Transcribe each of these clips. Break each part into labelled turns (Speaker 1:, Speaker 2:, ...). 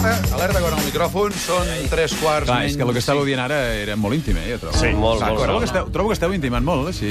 Speaker 1: Alerta, alerta quan el micròfon són tres quarts
Speaker 2: Clar,
Speaker 1: menys.
Speaker 2: és que el que estàveu dient ara era molt íntim, eh, jo trobo.
Speaker 3: Sí, molt,
Speaker 2: Saco,
Speaker 3: molt,
Speaker 2: trobo,
Speaker 3: molt.
Speaker 2: que esteu, trobo que esteu intimant molt, així.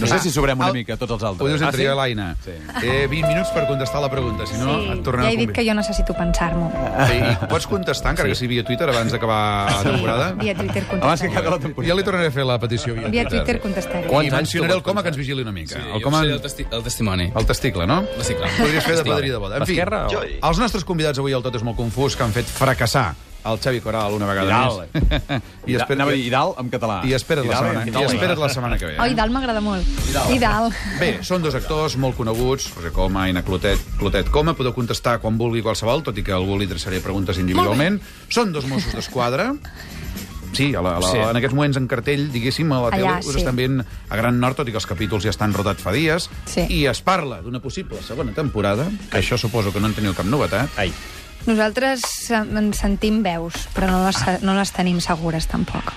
Speaker 2: No sé si sobrem una mica tots els
Speaker 1: Ho dius
Speaker 2: altres. Ah,
Speaker 1: entre Ah, jo i l'Aina.
Speaker 2: Sí.
Speaker 1: Té 20 eh, minuts per contestar la pregunta, si no et tornem
Speaker 4: ja
Speaker 1: a
Speaker 4: he dit que
Speaker 1: convidar.
Speaker 4: jo necessito pensar-m'ho.
Speaker 5: Ah,
Speaker 1: Sí, i pots contestar, encara que sigui via Twitter, abans d'acabar la temporada?
Speaker 4: via Twitter
Speaker 2: Abans que acabi
Speaker 4: contestaré.
Speaker 2: la temporada.
Speaker 1: Ja li tornaré a fer la petició via,
Speaker 4: Via Twitter contestaré.
Speaker 1: I mencionaré el coma que ens vigili una mica.
Speaker 5: Sí,
Speaker 1: el
Speaker 5: jo
Speaker 1: coma...
Speaker 5: seré el, testi el testimoni.
Speaker 1: El testicle, no?
Speaker 5: Testicle.
Speaker 1: Podries fer de padrí de boda. En fi,
Speaker 2: L'esquerra o-
Speaker 1: jo- els nostres convidats avui al Tot és molt confús, que han fet fracassar el Xavi Coral una vegada
Speaker 2: Vidal.
Speaker 1: més.
Speaker 2: I
Speaker 1: I
Speaker 2: espera,
Speaker 1: espera't,
Speaker 2: anava a dir eh? Idal en català.
Speaker 1: i espera't, la,
Speaker 2: Idal en
Speaker 1: setmana,
Speaker 2: català.
Speaker 1: i espera't la setmana que ve. eh?
Speaker 4: Oh, Idal m'agrada molt. Idal.
Speaker 1: Bé, són dos actors molt coneguts, Roser Coma, Aina Clotet, Clotet Coma. Podeu contestar quan vulgui qualsevol, tot i que a algú li adreçaré preguntes individualment. Són dos Mossos d'Esquadra. Sí, a la, a la, sí, en aquests moments en cartell, diguéssim, a la tele
Speaker 4: Allà,
Speaker 1: us
Speaker 4: sí.
Speaker 1: estan veient a Gran Nord, tot i que els capítols ja estan rodats fa dies,
Speaker 4: Sí.
Speaker 1: i es parla d'una possible segona temporada, que això suposo que no en teniu cap novetat.
Speaker 3: Ai.
Speaker 4: Nosaltres eh, en sentim veus, però no les, no les tenim segures, tampoc.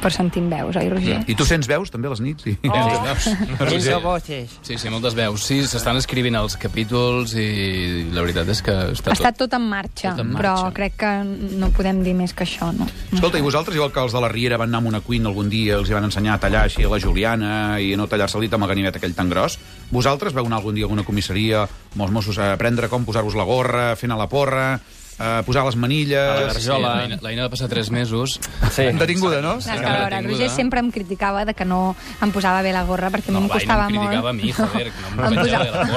Speaker 4: Però sentim veus, oi, Roger?
Speaker 1: I tu sents veus, també, a les nits? Sí.
Speaker 6: Oh.
Speaker 1: Sí.
Speaker 6: Sense voces.
Speaker 5: Sí, sí, moltes veus. Sí, s'estan escrivint els capítols i la veritat és que està,
Speaker 4: Està
Speaker 5: tot.
Speaker 4: tot en marxa,
Speaker 5: Tot en
Speaker 4: però
Speaker 5: marxa.
Speaker 4: crec que no podem dir més que això, no?
Speaker 1: Escolta, i vosaltres, igual que els de la Riera van anar amb una cuina algun dia, els hi van ensenyar a tallar així a la Juliana i a no tallar-se el dit amb el ganivet aquell tan gros, vosaltres vau anar algun dia a alguna comissaria amb els Mossos a aprendre com posar-vos la gorra, fent a la porra, a posar les manilles...
Speaker 5: Sí, l'Aina- L'Aina va passar 3 mesos.
Speaker 3: Sí.
Speaker 1: Detinguda, no?
Speaker 4: Clar, que a veure, Roger sempre em criticava de que no em posava bé la gorra perquè a mi
Speaker 5: va,
Speaker 4: em
Speaker 5: i no
Speaker 4: costava
Speaker 5: em
Speaker 4: molt.
Speaker 5: criticava a mi, joder, que no em penjava bé la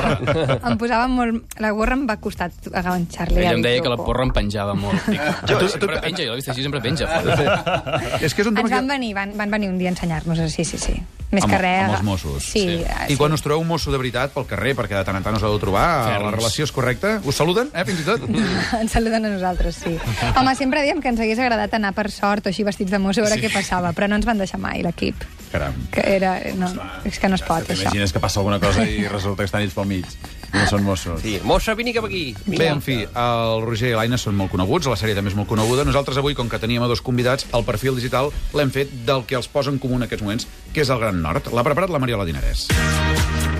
Speaker 5: gorra.
Speaker 4: em posava molt... La gorra em va costar enganxar-li
Speaker 5: Ella
Speaker 4: el
Speaker 5: em deia que la
Speaker 4: truco.
Speaker 5: porra em penjava molt. Dic, jo, tu, sempre penja, jo l'he vist així, sempre penja. Joder.
Speaker 1: És que és un tema
Speaker 4: Ens van
Speaker 1: que...
Speaker 4: venir, van, van venir un dia a ensenyar-nos, eh, sí, sí, sí. Més
Speaker 1: Amb-
Speaker 4: que res... eh?
Speaker 1: amb els Mossos.
Speaker 4: Sí.
Speaker 5: Sí.
Speaker 4: eh,
Speaker 1: I quan us trobeu un mosso de veritat pel carrer, perquè de tant en tant us heu de trobar, la
Speaker 5: Ferms.
Speaker 1: relació és correcta, us saluden, eh, fins i tot?
Speaker 4: Ens saluden a nosaltres, sí. Home, sempre diem que ens hagués agradat anar per sort o així vestits de mosso a veure sí. què passava, però no ens van deixar mai l'equip.
Speaker 1: Caram.
Speaker 4: Que era... No, és que no es pot, això.
Speaker 2: T'imagines que passa alguna cosa i resulta que estan ells pel mig. I no són Mossos.
Speaker 3: Sí. Mossa, vini cap aquí.
Speaker 1: Bé, en fi, el Roger i l'Aina són molt coneguts, la sèrie també és molt coneguda. Nosaltres avui, com que teníem a dos convidats, el perfil digital l'hem fet del que els posa en comú en aquests moments, que és el Gran Nord. L'ha preparat la Mariola Dinarès.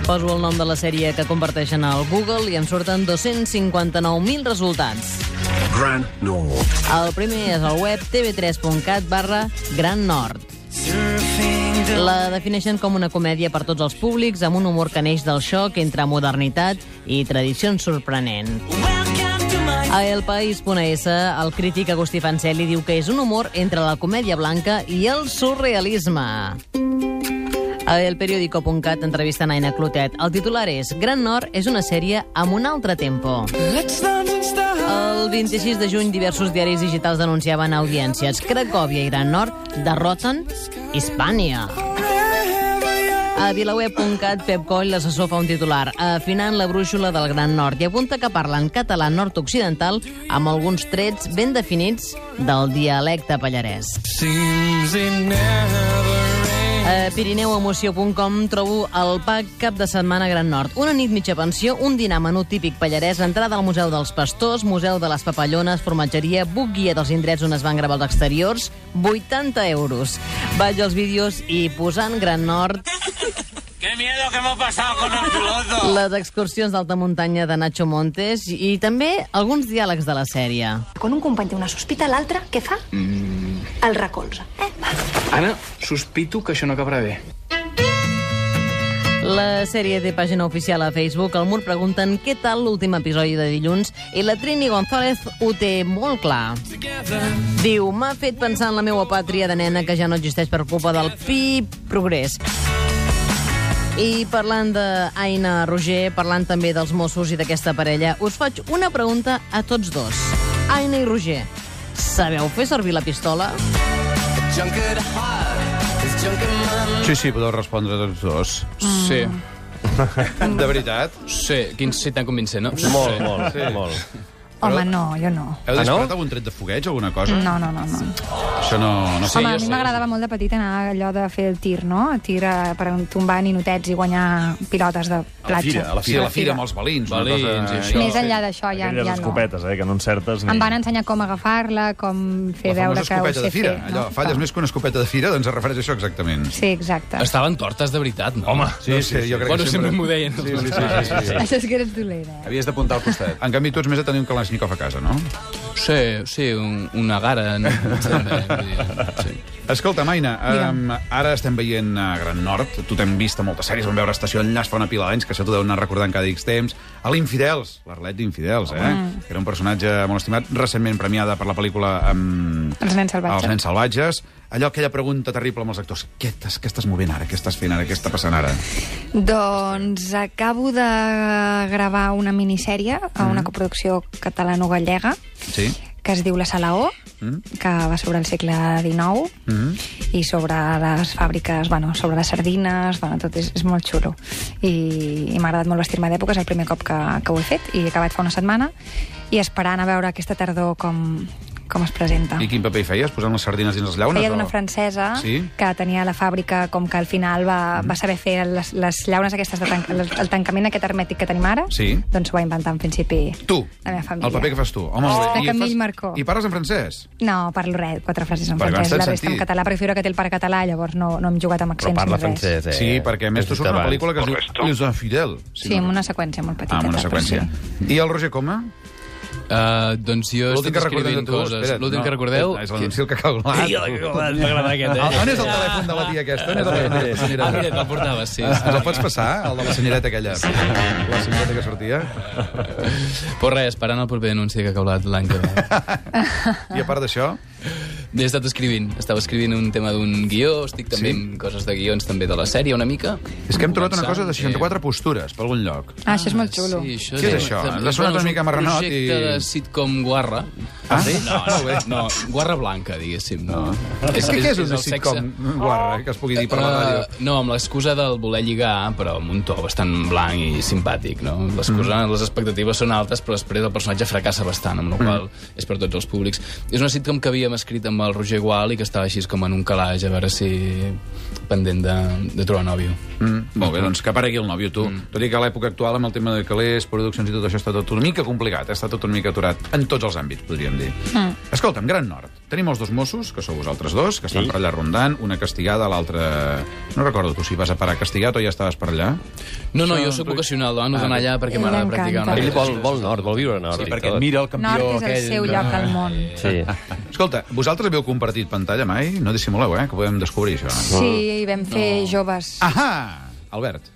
Speaker 7: Poso el nom de la sèrie que comparteixen al Google i em surten 259.000 resultats.
Speaker 8: Grand Nord.
Speaker 7: El primer és al web tv3.cat barra Gran Nord. La defineixen com una comèdia per tots els públics, amb un humor que neix del xoc entre modernitat i tradicions sorprenent. A elpaís.es, el crític Agustí Fancelli diu que és un humor entre la comèdia blanca i el surrealisme. A elperiódico.cat entrevisten Aina Clotet. El titular és Gran Nord és una sèrie amb un altre tempo. El 26 de juny, diversos diaris digitals denunciaven a audiències. Cracòvia i Gran Nord derroten Hispània. A vilaweb.cat, Pep Coll, l'assessor fa un titular, afinant la brúixola del Gran Nord i apunta que parla en català nord-occidental amb alguns trets ben definits del dialecte pallarès. A pirineuemoció.com trobo el PAC cap de setmana Gran Nord. Una nit mitja pensió, un dinar menú típic pallarès, entrada al Museu dels Pastors, Museu de les Papallones, formatgeria, buc guia dels indrets on es van gravar els exteriors, 80 euros. Vaig als vídeos i posant Gran Nord... Les excursions d'alta muntanya de Nacho Montes i també alguns diàlegs de la sèrie.
Speaker 9: Quan un company té una sospita, l'altre què fa? Mm. El recolza. Eh?
Speaker 10: Anna, sospito que això no acabarà bé.
Speaker 7: La sèrie té pàgina oficial a Facebook. Al mur pregunten què tal l'últim episodi de dilluns i la Trini González ho té molt clar. Diu, m'ha fet pensar en la meua pàtria de nena que ja no existeix per culpa del pi progrés. I parlant d'Aina Roger, parlant també dels Mossos i d'aquesta parella, us faig una pregunta a tots dos. Aina i Roger, sabeu fer servir la pistola?
Speaker 1: Sí, sí, podeu respondre tots dos.
Speaker 5: Sí,
Speaker 1: De veritat.
Speaker 5: sí, quin sí tan convincent, no?
Speaker 3: Molt,
Speaker 5: sí.
Speaker 3: molt, sí. molt.
Speaker 4: Home, no, jo no.
Speaker 1: Heu
Speaker 3: Ah, no?
Speaker 1: disparat algun tret de fogueig o alguna cosa?
Speaker 4: No, no, no, no.
Speaker 1: Això no, no sé.
Speaker 4: Home,
Speaker 5: jo
Speaker 4: a mi
Speaker 5: sé.
Speaker 4: m'agradava molt de petit anar a allò de fer el tir, no? A Tir eh, per tombar ninotets i guanyar pilotes de platja.
Speaker 1: a la fira, a la fira amb els balins. una
Speaker 5: Balins
Speaker 1: cosa-
Speaker 5: i això.
Speaker 4: Més enllà d'això ja,
Speaker 6: Aquelles
Speaker 4: ja no.
Speaker 6: escopetes, eh, que no encertes ni...
Speaker 4: Em van ensenyar com agafar-la, com fer
Speaker 1: La famosa
Speaker 4: veure que ho
Speaker 1: escopeta
Speaker 4: sé
Speaker 1: de fira.
Speaker 4: fer. Ah,
Speaker 1: Allò, falles més que una escopeta de fira, doncs es refereix a això exactament.
Speaker 4: Sí, exacte.
Speaker 5: Estaven tortes de veritat, no? Home,
Speaker 1: Sí, no sé, jo crec
Speaker 5: bueno,
Speaker 1: que
Speaker 5: sempre m'ho deien.
Speaker 1: Sí, sí, sí, sí, sí.
Speaker 4: Això és que eres dolent, eh?
Speaker 2: Havies d'apuntar al costat.
Speaker 1: En canvi, tu ets més a tenir un calaix Kalashnikov a casa, no?
Speaker 5: Sí, sí, un, una gara. No? Sí.
Speaker 1: Escolta, Maina, um, ara estem veient eh, a Gran Nord. Tu t'hem vist a moltes sèries, vam veure Estació Enllaç fa una pila d'anys, que això t'ho deu anar recordant cada X temps. A l'Infidels, l'Arlet d'Infidels, eh? Que era un personatge molt estimat, recentment premiada per la pel·lícula amb...
Speaker 4: Els nens salvatges.
Speaker 1: Els nens salvatges. Allò, aquella pregunta terrible amb els actors. Què, estàs, què estàs movent ara? Què estàs fent ara? Què està passant ara?
Speaker 4: Doncs acabo de gravar una minissèrie a
Speaker 1: Mm.
Speaker 4: una coproducció catalano-gallega
Speaker 1: Sí?
Speaker 4: que es diu La Salaó, mm. que va sobre el segle XIX
Speaker 1: Mm-hmm.
Speaker 4: mm. i sobre les fàbriques, bueno, sobre les sardines, bueno, tot és, és molt xulo. I, i m'ha agradat molt vestir-me d'època, és el primer cop que, que ho he fet i he acabat fa una setmana i esperant a veure aquesta tardor com, com es presenta.
Speaker 1: I quin paper hi feies? Posant les sardines dins les llaunes?
Speaker 4: Ah. Feia d'una
Speaker 1: o-
Speaker 4: francesa
Speaker 1: Sí? Mm.
Speaker 4: que tenia la fàbrica com que al final va, va saber fer les, les llaunes aquestes, de tanc, el, el tancament aquest hermètic que tenim ara,
Speaker 1: Sí.
Speaker 4: doncs ho va inventar en principi
Speaker 1: Tu,
Speaker 4: la meva família.
Speaker 1: el paper que fas tu. Home,
Speaker 4: Oh.
Speaker 1: i
Speaker 4: De Camil
Speaker 1: fas-
Speaker 4: Marcó.
Speaker 1: I parles en francès?
Speaker 4: No, parlo res, quatre frases en
Speaker 1: Perquè
Speaker 4: francès,
Speaker 1: abans
Speaker 4: la
Speaker 1: t'han
Speaker 4: resta en
Speaker 1: sentit.
Speaker 4: català, perquè figura que té el pare català, llavors no, no hem jugat amb
Speaker 3: Però
Speaker 4: accents
Speaker 3: parla
Speaker 4: ni res.
Speaker 3: francès, eh?
Speaker 1: Sí, perquè a més tu
Speaker 3: Tot
Speaker 1: surt una
Speaker 3: abans.
Speaker 1: pel·lícula que es diu Les Infidels.
Speaker 4: Sí, amb una seqüència molt petita.
Speaker 1: Ah, amb una
Speaker 4: tal, però
Speaker 1: seqüència.
Speaker 4: sí.
Speaker 1: I el Roger Coma?
Speaker 5: Uh, doncs jo
Speaker 1: L'últim
Speaker 5: estic
Speaker 1: que recordeu de
Speaker 5: escrivint
Speaker 1: tu?
Speaker 5: coses.
Speaker 1: Espera't,
Speaker 5: L'últim
Speaker 1: no,
Speaker 5: que recordeu...
Speaker 1: És l'anunciació que ha calculat.
Speaker 6: eh?
Speaker 5: m'agrada aquest,
Speaker 1: Ah, On és el telèfon de la tia aquesta? On és el telèfon de la
Speaker 5: Ah, mira,
Speaker 1: senyoreta?
Speaker 5: te'l portaves, sí.
Speaker 1: Ens el pots passar, el de la senyoreta aquella? La senyoreta que sortia?
Speaker 5: Però res, esperant el proper anunci que ha caulat l'any que ve.
Speaker 1: I a part d'això,
Speaker 5: He estat escrivint. Estava escrivint un tema d'un guió, estic també
Speaker 1: Sí?
Speaker 5: sí? amb coses de guions també de la sèrie una mica.
Speaker 1: és que hem trobat una cosa
Speaker 5: Començant,
Speaker 1: de 64 postures per algun lloc.
Speaker 4: Ah, això és molt xulo.
Speaker 5: Sí, això
Speaker 1: Què és això? Ens ha sonat
Speaker 5: bueno,
Speaker 1: una
Speaker 5: és
Speaker 1: mica marranot
Speaker 5: Un
Speaker 1: i-
Speaker 5: projecte de sitcom guarra.
Speaker 1: Ah,
Speaker 5: Sí?
Speaker 1: sí?
Speaker 5: No,
Speaker 1: Molt bé.
Speaker 5: no, no, guarra blanca, diguéssim. No.
Speaker 1: Què què és un
Speaker 5: el
Speaker 1: sitcom
Speaker 5: sexe-
Speaker 1: guarra eh, que es pugui dir per la ràdio?
Speaker 5: Eh, no, amb l'excusa del voler lligar, però amb un to bastant blanc i simpàtic, no? L'excusa, mm. les expectatives són altes, però després el personatge fracassa bastant, amb la qual mm. és per tots els públics. És una sitcom que havíem escrit amb el Roger Gual i que estava així com en un calaix, a veure si pendent de, de trobar nòvio.
Speaker 1: Mm, molt bé, doncs que aparegui el nòvio, tu. Tot i que a l'època actual, amb el tema de calés, produccions i tot això, està tot una mica complicat, està tot una mica aturat en tots els àmbits, podríem dir. Mm. Escolta'm, Gran Nord, tenim els dos Mossos, que sou vosaltres dos, que estan sí. per allà rondant, una castigada, l'altra... No recordo tu si vas a parar castigat o ja estaves per allà.
Speaker 5: No, no, jo sóc vocacional, dono d'anar allà perquè
Speaker 4: Ell
Speaker 5: m'agrada
Speaker 4: m'encanta.
Speaker 5: practicar una
Speaker 4: Ell
Speaker 3: Ell
Speaker 5: mica.
Speaker 3: vol, vol nord, vol viure a nord.
Speaker 2: Sí,
Speaker 3: i
Speaker 2: perquè
Speaker 3: tot.
Speaker 2: et mira el campió
Speaker 4: Nord és el
Speaker 2: aquell...
Speaker 4: seu lloc al món.
Speaker 11: Eh,
Speaker 3: Sí.
Speaker 1: Escolta, vosaltres havíeu compartit pantalla mai? No dissimuleu, eh, que ho podem descobrir, això.
Speaker 4: Sí, i vam fer joves.
Speaker 1: Ah, Ahà! Albert.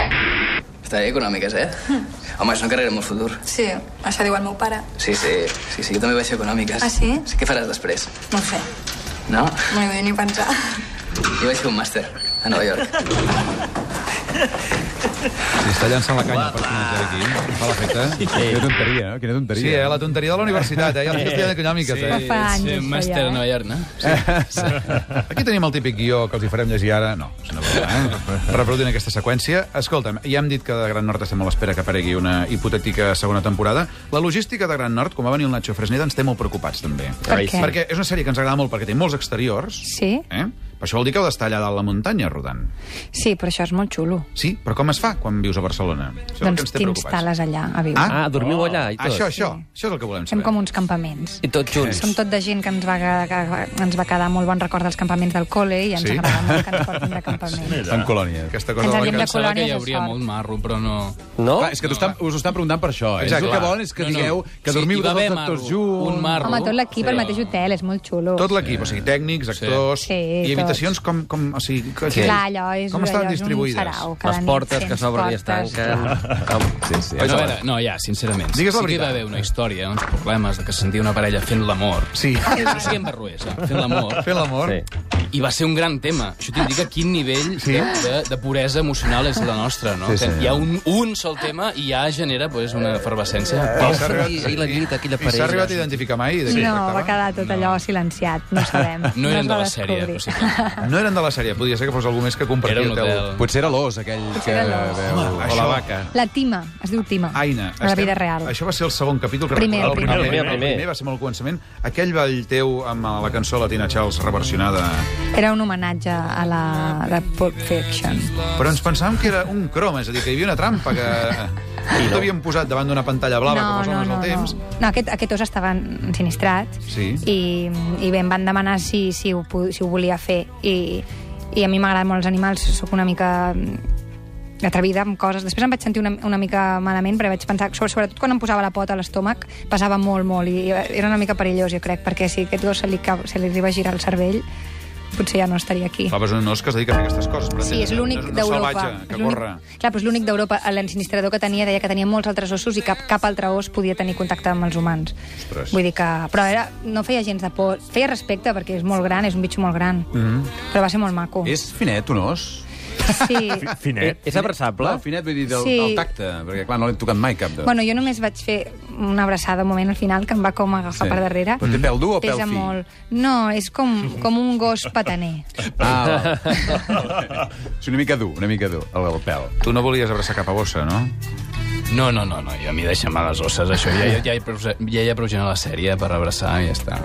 Speaker 6: Està bé, econòmiques, eh? Home, és una carrera amb el futur.
Speaker 12: Sí, això diu el meu pare.
Speaker 6: Sí, sí, sí, sí, jo també vaig ser econòmiques.
Speaker 12: Ah, sí?
Speaker 6: sí què faràs després?
Speaker 12: No ho sé,
Speaker 6: No?
Speaker 12: no hi vull ni pensar.
Speaker 6: Jo vaig fer un màster a Nova York.
Speaker 1: Sí, està llançant la canya per personatge d'aquí. Em Fa l'efecte.
Speaker 2: Quina tonteria, no? Quina tonteria.
Speaker 1: Sí, eh, la tonteria de la universitat, eh, i les festes econòmiques, eh.
Speaker 4: Però fa anys,
Speaker 5: Sí,
Speaker 4: això,
Speaker 5: màster
Speaker 4: ja,
Speaker 5: a
Speaker 4: eh?
Speaker 5: Nova York, no?
Speaker 1: Aquí tenim el típic guió que els hi farem llegir ara. No, és una broma, eh? Reproduint aquesta seqüència. Escolta'm, ja hem dit que de Gran Nord estem a l'espera que aparegui una hipotètica segona temporada. La logística de Gran Nord, com va venir el Nacho Fresneda, ens té molt preocupats, també.
Speaker 4: Per què?
Speaker 1: Perquè és una sèrie que ens agrada molt, perquè té molts exteriors.
Speaker 4: Sí.
Speaker 1: Eh? Però això vol dir que heu d'estar allà dalt la muntanya rodant.
Speaker 4: Sí, però això és molt xulo.
Speaker 1: Sí, però com es fa quan vius a Barcelona? Això és el que
Speaker 4: doncs
Speaker 1: ens té preocupats.
Speaker 4: t'instal·les allà a viure.
Speaker 1: Ah,
Speaker 3: Ah, dormiu allà i tot.
Speaker 1: això, això, això és el que volem
Speaker 4: Fem
Speaker 1: saber.
Speaker 4: com uns campaments.
Speaker 3: I tots junts.
Speaker 4: Som tot de gent que ens va, que, que ens va quedar molt bon record dels campaments del col·le i ens
Speaker 1: Sí?
Speaker 4: agrada molt que ens portin de campament.
Speaker 2: En colònia.
Speaker 1: Aquesta
Speaker 4: Ens
Speaker 1: cosa de
Speaker 4: havíem
Speaker 1: la
Speaker 4: de
Speaker 1: cançó.
Speaker 5: Pensava que
Speaker 4: colònies
Speaker 5: hi
Speaker 4: de
Speaker 5: hauria
Speaker 4: sort.
Speaker 5: molt marro, però no...
Speaker 3: No?
Speaker 2: Clar, és que no, estan, us ho estan preguntant per això, eh?
Speaker 1: Exacte.
Speaker 2: és el que volen és que
Speaker 5: No, no.
Speaker 2: digueu que
Speaker 5: Sí,
Speaker 2: dormiu
Speaker 5: hi va
Speaker 2: tots
Speaker 5: haver
Speaker 2: els actors
Speaker 5: marro.
Speaker 2: junts.
Speaker 5: Un marro.
Speaker 4: Home, tot l'equip al mateix hotel, és molt xulo.
Speaker 1: Tot l'equip, o sigui, tècnics, actors...
Speaker 4: Sí,
Speaker 1: I
Speaker 4: tots.
Speaker 1: habitacions com... com o sigui, que,
Speaker 4: Clar, allò és,
Speaker 1: com
Speaker 4: allò
Speaker 1: estan
Speaker 4: és un
Speaker 1: distribuïdes?
Speaker 4: sarau. Cada
Speaker 3: Les
Speaker 4: nit
Speaker 3: portes
Speaker 4: tens
Speaker 3: que s'obren i es
Speaker 4: portes,
Speaker 3: tanquen.
Speaker 4: clar.
Speaker 3: Com...
Speaker 2: Sí, sí.
Speaker 5: No, a veure, no, ja, sincerament.
Speaker 1: Digues la
Speaker 5: sí que hi
Speaker 1: veritat.
Speaker 5: va haver una història, uns problemes de que sentia una parella fent l'amor.
Speaker 1: Sí.
Speaker 5: No siguem barruers, eh? fent l'amor.
Speaker 1: Fer l'amor. Eh,
Speaker 3: Sí.
Speaker 5: I va ser un gran tema. Això t'indica quin nivell sí? de, de puresa emocional és la nostra, no?
Speaker 2: Sí,
Speaker 5: que
Speaker 2: senyor.
Speaker 5: hi ha un, un sol tema i ja genera pues, una efervescència.
Speaker 1: I
Speaker 3: Vau
Speaker 1: s'ha
Speaker 3: fer
Speaker 1: arribat-
Speaker 3: ahir la nit, aquella
Speaker 1: I s'ha
Speaker 3: parella.
Speaker 1: arribat a identificar mai? De qui es
Speaker 4: No,
Speaker 1: tractava?
Speaker 4: va quedar tot allò silenciat, no sabem.
Speaker 5: No
Speaker 4: es
Speaker 5: eren
Speaker 4: va
Speaker 5: de la sèrie,
Speaker 4: descobrir.
Speaker 5: possiblement.
Speaker 1: No eren de la sèrie, podia ser que fos algú més que compartia
Speaker 5: Era un
Speaker 1: el teu...
Speaker 5: hotel.
Speaker 2: Potser era l'os, aquell que
Speaker 4: era l'os.
Speaker 2: veu...
Speaker 1: O la vaca.
Speaker 4: La Tima, es diu Tima.
Speaker 1: Aina,
Speaker 4: a la vida real.
Speaker 1: Això va ser el segon capítol que
Speaker 4: Primer,
Speaker 1: recordava.
Speaker 4: primer.
Speaker 3: El primer, el
Speaker 1: el
Speaker 3: primer.
Speaker 1: primer va ser molt començament. Aquell ball teu amb la cançó Latina Charles reversionada.
Speaker 4: Era un homenatge a la de Pulp Fiction.
Speaker 1: Però ens pensàvem que era un croma, és a dir, que hi havia una trampa que... I t'havien posat davant d'una pantalla blava com els homes
Speaker 4: no,
Speaker 1: del temps.
Speaker 4: No, no aquest, aquest os estava sinistrat
Speaker 1: Sí.
Speaker 4: i, i bé, em van demanar si, si, ho, pu- si ho volia fer i, i a mi m'agraden molt els animals, sóc una mica mm, atrevida amb coses. Després em vaig sentir una, una mica malament, perquè vaig pensar, sobre, sobretot quan em posava la pota a l'estómac, passava molt, molt, i era una mica perillós, jo crec, perquè si aquest gos se li, cau- se li arriba a girar el cervell, potser ja no estaria aquí.
Speaker 1: Faves un os que es dedica a fer aquestes coses. pretén.
Speaker 4: Sí, és l'únic
Speaker 1: No és un os
Speaker 4: d'Europa.
Speaker 1: salvatge
Speaker 4: És
Speaker 1: que
Speaker 4: l'únic-
Speaker 1: corre.
Speaker 4: Clar, però és l'únic d'Europa. L'ensinistrador que tenia deia que tenia molts altres ossos i cap, cap altre os podia tenir contacte amb els humans.
Speaker 1: Ostres.
Speaker 4: Vull dir que... Però era, no feia gens de por. Feia respecte perquè és molt gran, és un bitxo molt gran. Mm. Però va ser molt maco.
Speaker 2: És finet, un os?
Speaker 4: Sí.
Speaker 2: Finet? És abraçable? Clar, finet vull dir del,
Speaker 4: Sí.
Speaker 2: del tacte, perquè clar, no l'hem tocat mai cap de...
Speaker 4: Bueno, jo només vaig fer una abraçada un moment al final que em va com agafar
Speaker 2: Sí.
Speaker 4: per darrere.
Speaker 2: Però té peu dur o
Speaker 4: Pesa
Speaker 2: peu fi?
Speaker 4: molt. No, és com, com un gos pataner.
Speaker 2: Ah, va. és una mica dur, una mica dur, el, el pèl.
Speaker 1: Tu no volies abraçar cap a bossa, no?
Speaker 5: No, no, no, no, jo a mi deixa mal les osses, això. Ja, ja, ja, hi prou- ja hi ha prou gent a la sèrie per abraçar i ja està.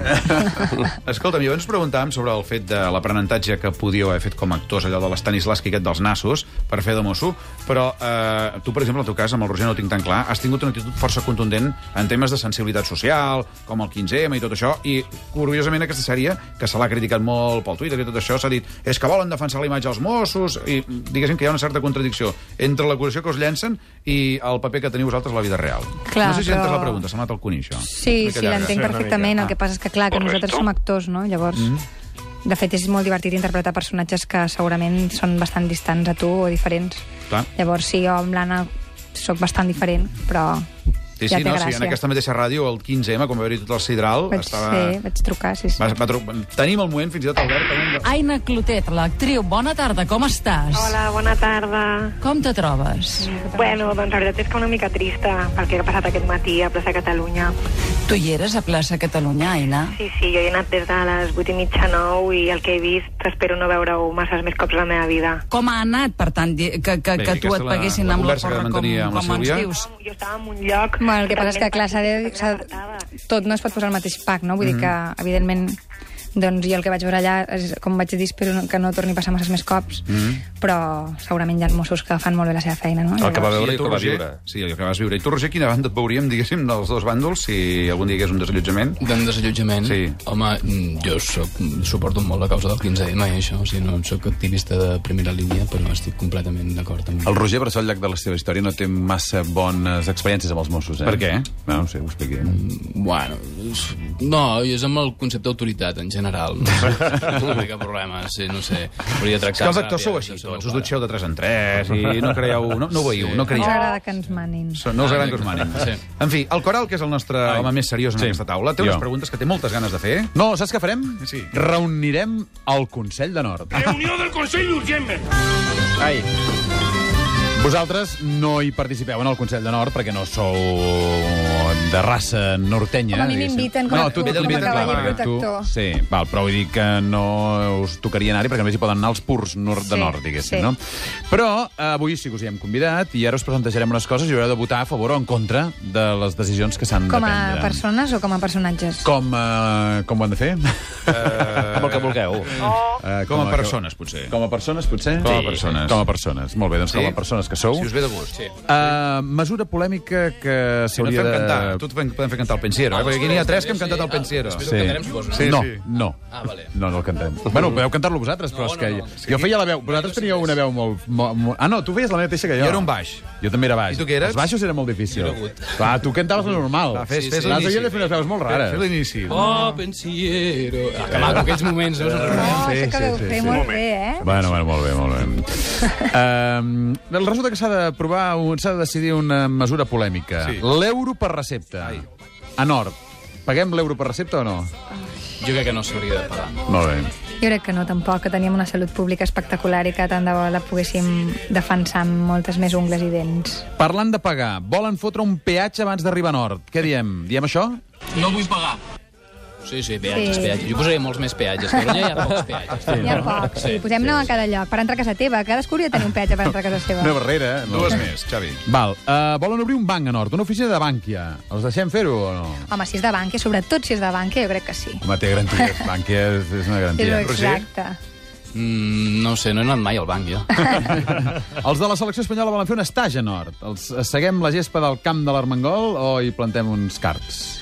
Speaker 1: Escolta'm, jo ens preguntàvem sobre el fet de l'aprenentatge que podíeu haver fet com a actors, allò de l'Estanislavski aquest dels nassos, per fer de mosso, però eh, tu, per exemple, en el teu cas, amb el Roger no ho tinc tan clar, has tingut una actitud força contundent en temes de sensibilitat social, com el 15M i tot això, i curiosament aquesta sèrie, que se l'ha criticat molt pel Twitter i tot això, s'ha dit és que volen defensar la imatge als Mossos, i diguéssim que hi ha una certa contradicció entre l'acusació que us llencen i el paper que teniu vosaltres a la vida real.
Speaker 4: Clar,
Speaker 1: no sé si entès
Speaker 4: però-
Speaker 1: la pregunta, s'ha anat al conill, això.
Speaker 4: Sí,
Speaker 1: Una mica
Speaker 4: sí,
Speaker 1: llarga.
Speaker 4: l'entenc perfectament. El que passa és que, clar, que nosaltres som actors, no? Llavors, mm. de fet, és molt divertit interpretar personatges que segurament són bastant distants a tu o diferents.
Speaker 1: Clar.
Speaker 4: Llavors, sí, jo amb l'Anna sóc bastant diferent, però
Speaker 1: Sí,
Speaker 4: ja
Speaker 1: sí,
Speaker 4: té
Speaker 1: no, sí,
Speaker 4: gràcia.
Speaker 1: en aquesta mateixa ràdio, el 15M, com va haver-hi tot el sidral,
Speaker 4: Vaig,
Speaker 1: estava...
Speaker 4: sí, vaig trucar, sí, sí.
Speaker 1: Va, va, tru- tenim el moment, fins i tot, Albert, amb un de...
Speaker 13: Aina Clotet, l'actriu. Bona tarda, com estàs?
Speaker 14: Hola, bona tarda.
Speaker 13: Com te trobes?
Speaker 14: Bueno, doncs la veritat és que una mica trista pel que ha passat aquest matí a plaça Catalunya.
Speaker 13: Tu hi eres a plaça Catalunya, Aina?
Speaker 14: Sí, sí, jo he anat des de les 8 i mitja 9 i el que he vist espero no veure-ho masses més cops a la meva vida.
Speaker 13: Com ha anat, per tant, di- que, Ah, que,
Speaker 1: Bé,
Speaker 13: que tu
Speaker 1: aquesta
Speaker 13: et
Speaker 1: la-
Speaker 13: paguessin
Speaker 1: la
Speaker 13: amb la
Speaker 1: conversa que
Speaker 13: porra com,
Speaker 1: mantenia amb la
Speaker 13: com ens
Speaker 1: Sílvia.
Speaker 13: dius?
Speaker 14: Jo estava en un lloc...
Speaker 4: Bueno, el que passa és que, clar, s'ha de... s'ha de- Tot no es pot posar al mateix pack, no? Vull mm -hmm. dir que, evidentment, doncs jo el que vaig veure allà, és, com vaig dir, espero no- que no torni a passar masses més cops, mm -hmm. però segurament hi ha mossos que fan molt bé la seva feina,
Speaker 1: El
Speaker 4: no?
Speaker 1: que va
Speaker 4: Llavors-
Speaker 1: veure i
Speaker 3: tu,
Speaker 1: el que va
Speaker 3: Roger.
Speaker 1: viure. Sí, el que vas viure. I tu, Roger, quina banda et veuríem, diguéssim, dels dos bàndols, si algun dia hi hagués un desallotjament?
Speaker 5: D'un desallotjament?
Speaker 1: Sí.
Speaker 5: Home, mm, jo soc, suporto molt la causa del 15M i això, o sigui, no soc activista de primera línia, però estic completament d'acord amb
Speaker 2: El Roger Bressó, al llarg de la seva història, no té massa bones experiències amb els Mossos, eh?
Speaker 1: Per què?
Speaker 2: No, no sé, ho expliqui.
Speaker 5: Bueno, és- no, i és amb el concepte d'autoritat, en general. No és una mica problema, sí, no sé. Hauria
Speaker 1: És que
Speaker 5: de tractar...
Speaker 1: els actors sou així, tots. Us dutxeu de 3 en 3 i no creieu... No, no ho veieu, no
Speaker 4: No ens
Speaker 1: creieu.
Speaker 4: agrada que ens manin.
Speaker 1: So- No us agraden que us manin.
Speaker 5: Sí.
Speaker 1: En fi, el Coral, que és el nostre home més seriós en
Speaker 2: Sí.
Speaker 1: aquesta taula, té
Speaker 2: Jo.
Speaker 1: unes preguntes que té moltes ganes de fer.
Speaker 2: No, saps què farem?
Speaker 1: Sí.
Speaker 2: Reunirem el Consell de Nord.
Speaker 11: Reunió del Consell Urgent.
Speaker 2: Ai. Vosaltres no hi participeu en el Consell de Nord perquè no sou de raça nortenya.
Speaker 4: Home, a mi
Speaker 2: diguéssim.
Speaker 4: m'inviten com a
Speaker 2: tu
Speaker 4: tu,
Speaker 2: t'inviten,
Speaker 4: com a
Speaker 2: clar,
Speaker 4: cavaller
Speaker 2: perquè tu-
Speaker 4: protector.
Speaker 2: Sí, val, però vull dir que no us tocaria anar-hi perquè només hi poden anar els purs nord de
Speaker 4: Sí,
Speaker 2: nord, diguéssim,
Speaker 4: sí.
Speaker 2: no? Però eh, avui sí que us hi hem convidat i ara us plantejarem unes coses i haureu de votar a favor o en contra de les decisions que s'han de
Speaker 4: Com
Speaker 2: prendre.
Speaker 4: a persones o com a personatges?
Speaker 2: Com, eh, com ho han de fer?
Speaker 1: Com
Speaker 2: el que vulgueu. Eh,
Speaker 1: Com a persones, potser.
Speaker 2: Com a persones, potser?
Speaker 1: Com a persones.
Speaker 2: Com a persones. Molt bé, doncs
Speaker 1: Sí?
Speaker 2: com a persones que sou.
Speaker 1: Si us ve de gust. Sí.
Speaker 2: Uh, mesura polèmica que
Speaker 1: Si no et
Speaker 2: s'hauria
Speaker 1: fem
Speaker 2: de...
Speaker 1: cantar. A Tu et fem- podem fer cantar el Pensiero, eh? Perquè aquí n'hi ha tres que hem cantat el Pensiero.
Speaker 5: Després ho cantarem, suposo.
Speaker 2: Sí, no, no.
Speaker 5: Ah, vale.
Speaker 2: No, no el cantem. Bueno,
Speaker 1: Mm.
Speaker 2: podeu cantar-lo vosaltres, però
Speaker 5: No,
Speaker 2: és que...
Speaker 5: no, no.
Speaker 2: Jo feia la veu... Vosaltres teníeu una veu molt, molt, molt... Ah, no, tu feies la mateixa que jo.
Speaker 1: Jo era un baix.
Speaker 2: Jo també era
Speaker 1: I
Speaker 2: baix.
Speaker 1: tu què eres?
Speaker 2: Els baixos era molt difícil.
Speaker 1: Jo era agut.
Speaker 2: Clar, tu cantaves la normal.
Speaker 1: Va, fes-
Speaker 2: Sí,
Speaker 1: fes l'inici.
Speaker 2: sí. L'altre dia de fer unes veus molt rares.
Speaker 1: Fes l'inici.
Speaker 5: Oh, pensiero... Ah, que maco, aquells moments, no?
Speaker 4: Oh,
Speaker 2: Sí,
Speaker 4: això que
Speaker 2: sí,
Speaker 4: veu
Speaker 2: sí,
Speaker 4: fer
Speaker 2: sí.
Speaker 4: molt
Speaker 2: Un
Speaker 4: bé, eh?
Speaker 2: Bueno, bueno, molt bé, molt bé. Um, resulta que s'ha de provar, un- s'ha de decidir una mesura polèmica.
Speaker 1: Sí.
Speaker 2: L'euro per recepta. Ai. A Nord, paguem l'euro per recepta o no?
Speaker 5: Jo crec que no s'hauria de pagar.
Speaker 2: Molt bé.
Speaker 4: Jo crec que no, tampoc, que teníem una salut pública espectacular i que tant de bo la poguéssim defensar amb moltes més ungles i dents.
Speaker 2: Parlant de pagar, volen fotre un peatge abans d'arribar a Nord. Què diem? Diem això?
Speaker 5: No vull pagar. Sí, sí, peatges,
Speaker 4: Sí.
Speaker 5: peatges. Jo posaria molts més peatges, però ja hi ha pocs peatges.
Speaker 4: Hi ha poc. Sí, Posem-ne a cada lloc. Per entrar a casa teva. Cadascú hauria de tenir un peatge per entrar a casa seva.
Speaker 2: Una barrera. eh? Molt
Speaker 1: Dues
Speaker 2: bé.
Speaker 1: més, Xavi.
Speaker 2: Val, uh, volen obrir un banc a Nord, una oficina de Bànquia. Els deixem fer-ho o no?
Speaker 4: Home, si és de banca, sobretot si és de banca, jo crec que sí.
Speaker 2: Home, té garanties. Bànquia és, és una
Speaker 4: És
Speaker 2: garantia.
Speaker 4: exacte.
Speaker 5: Mm, no ho sé, no he anat mai al banc, jo.
Speaker 2: Els de la selecció espanyola volen fer un estatge a nord. Els eh, seguem la gespa del camp de l'Armengol o hi plantem uns cards?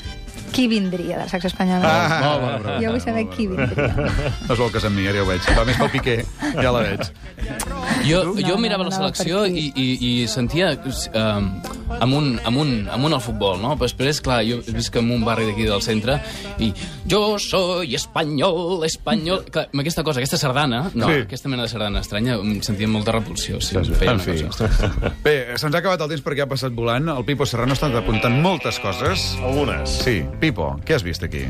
Speaker 4: Qui vindria de la secció espanyola?
Speaker 2: Ah, molt bona pregunta,
Speaker 4: jo vull saber
Speaker 2: molt bona
Speaker 4: qui vindria.
Speaker 1: No es vol casar amb mi, ara ja ho veig. Va més pel Piqué, ja la veig.
Speaker 5: Jo, jo mirava la selecció i, i, i sentia um, amunt, amunt, amunt al futbol, no? Però després, clar, jo visc en un barri d'aquí del centre i jo soy espanyol, espanyol... Clar, amb aquesta cosa, aquesta sardana, no,
Speaker 1: Sí.
Speaker 5: sí. aquesta mena de sardana estranya, em sentia molta repulsió. Sí, sí,
Speaker 1: En fi. Bé, se'ns ha acabat el temps perquè ha passat volant. El Pipo Serrano està apuntant moltes coses.
Speaker 11: Algunes.
Speaker 1: Sí. Pipo, què has vist aquí?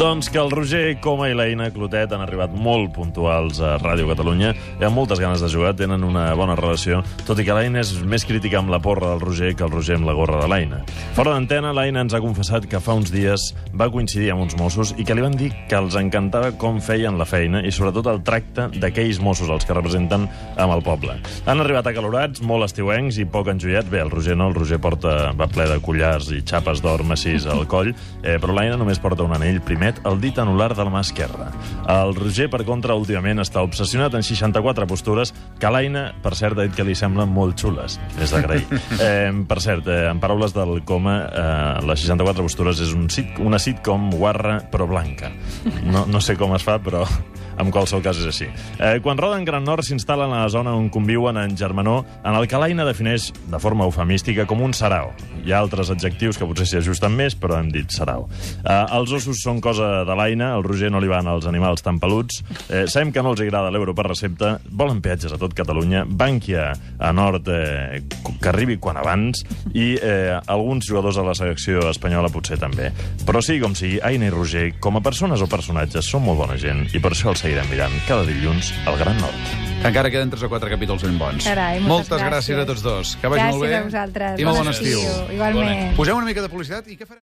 Speaker 11: Doncs que el Roger Coma i l'Eina Clotet han arribat molt puntuals a Ràdio Catalunya. Hi ha moltes ganes de jugar, tenen una bona relació, tot i que l'Eina és més crítica amb la porra del Roger que el Roger amb la gorra de l'Eina. Fora d'antena, l'Eina ens ha confessat que fa uns dies va coincidir amb uns Mossos i que li van dir que els encantava com feien la feina i sobretot el tracte d'aquells Mossos, els que representen amb el poble. Han arribat acalorats, molt estiuencs i poc enjoiats. Bé, el Roger no, el Roger porta, va ple de collars i xapes d'or massís al coll, eh, però l'Aina només porta un anell primet al dit anular de la mà esquerra. El Roger, per contra, últimament està obsessionat en 64 postures que l'Aina, per cert, ha dit que li semblen molt xules. És d'agrair. Eh, per cert, eh, en paraules del coma, eh, les 64 postures és un sit, una sitcom guarra però blanca. No, no sé com es fa, però en qualsevol cas és així. Eh, quan roden Gran Nord s'instal·len a la zona on conviuen en Germanó, en el que l'Aina defineix de forma eufemística com un sarau. Hi ha altres adjectius que potser s'hi ajusten més, però hem dit sarau. Eh, els ossos són cosa de l'Aina, al Roger no li van els animals tan peluts, eh, sabem que no els agrada l'euro per recepta, volen peatges a tot Catalunya, Bànquia a Nord eh, que arribi quan abans i eh, alguns jugadors de la selecció espanyola potser també. Però sí, com sigui, Aina i Roger, com a persones o personatges, són molt bona gent i per això els seguirem mirant cada dilluns al Gran Nord.
Speaker 1: Que encara queden 3 o 4 capítols ben bons.
Speaker 4: Carai, moltes
Speaker 1: moltes gràcies.
Speaker 4: gràcies
Speaker 1: a tots dos. Que vagi
Speaker 4: Gràcies
Speaker 1: molt bé.
Speaker 4: a vosaltres.
Speaker 1: I molt
Speaker 4: Bon
Speaker 1: bon estiu.
Speaker 4: estiu. Igualment.
Speaker 1: Poseu una mica de publicitat i què farem?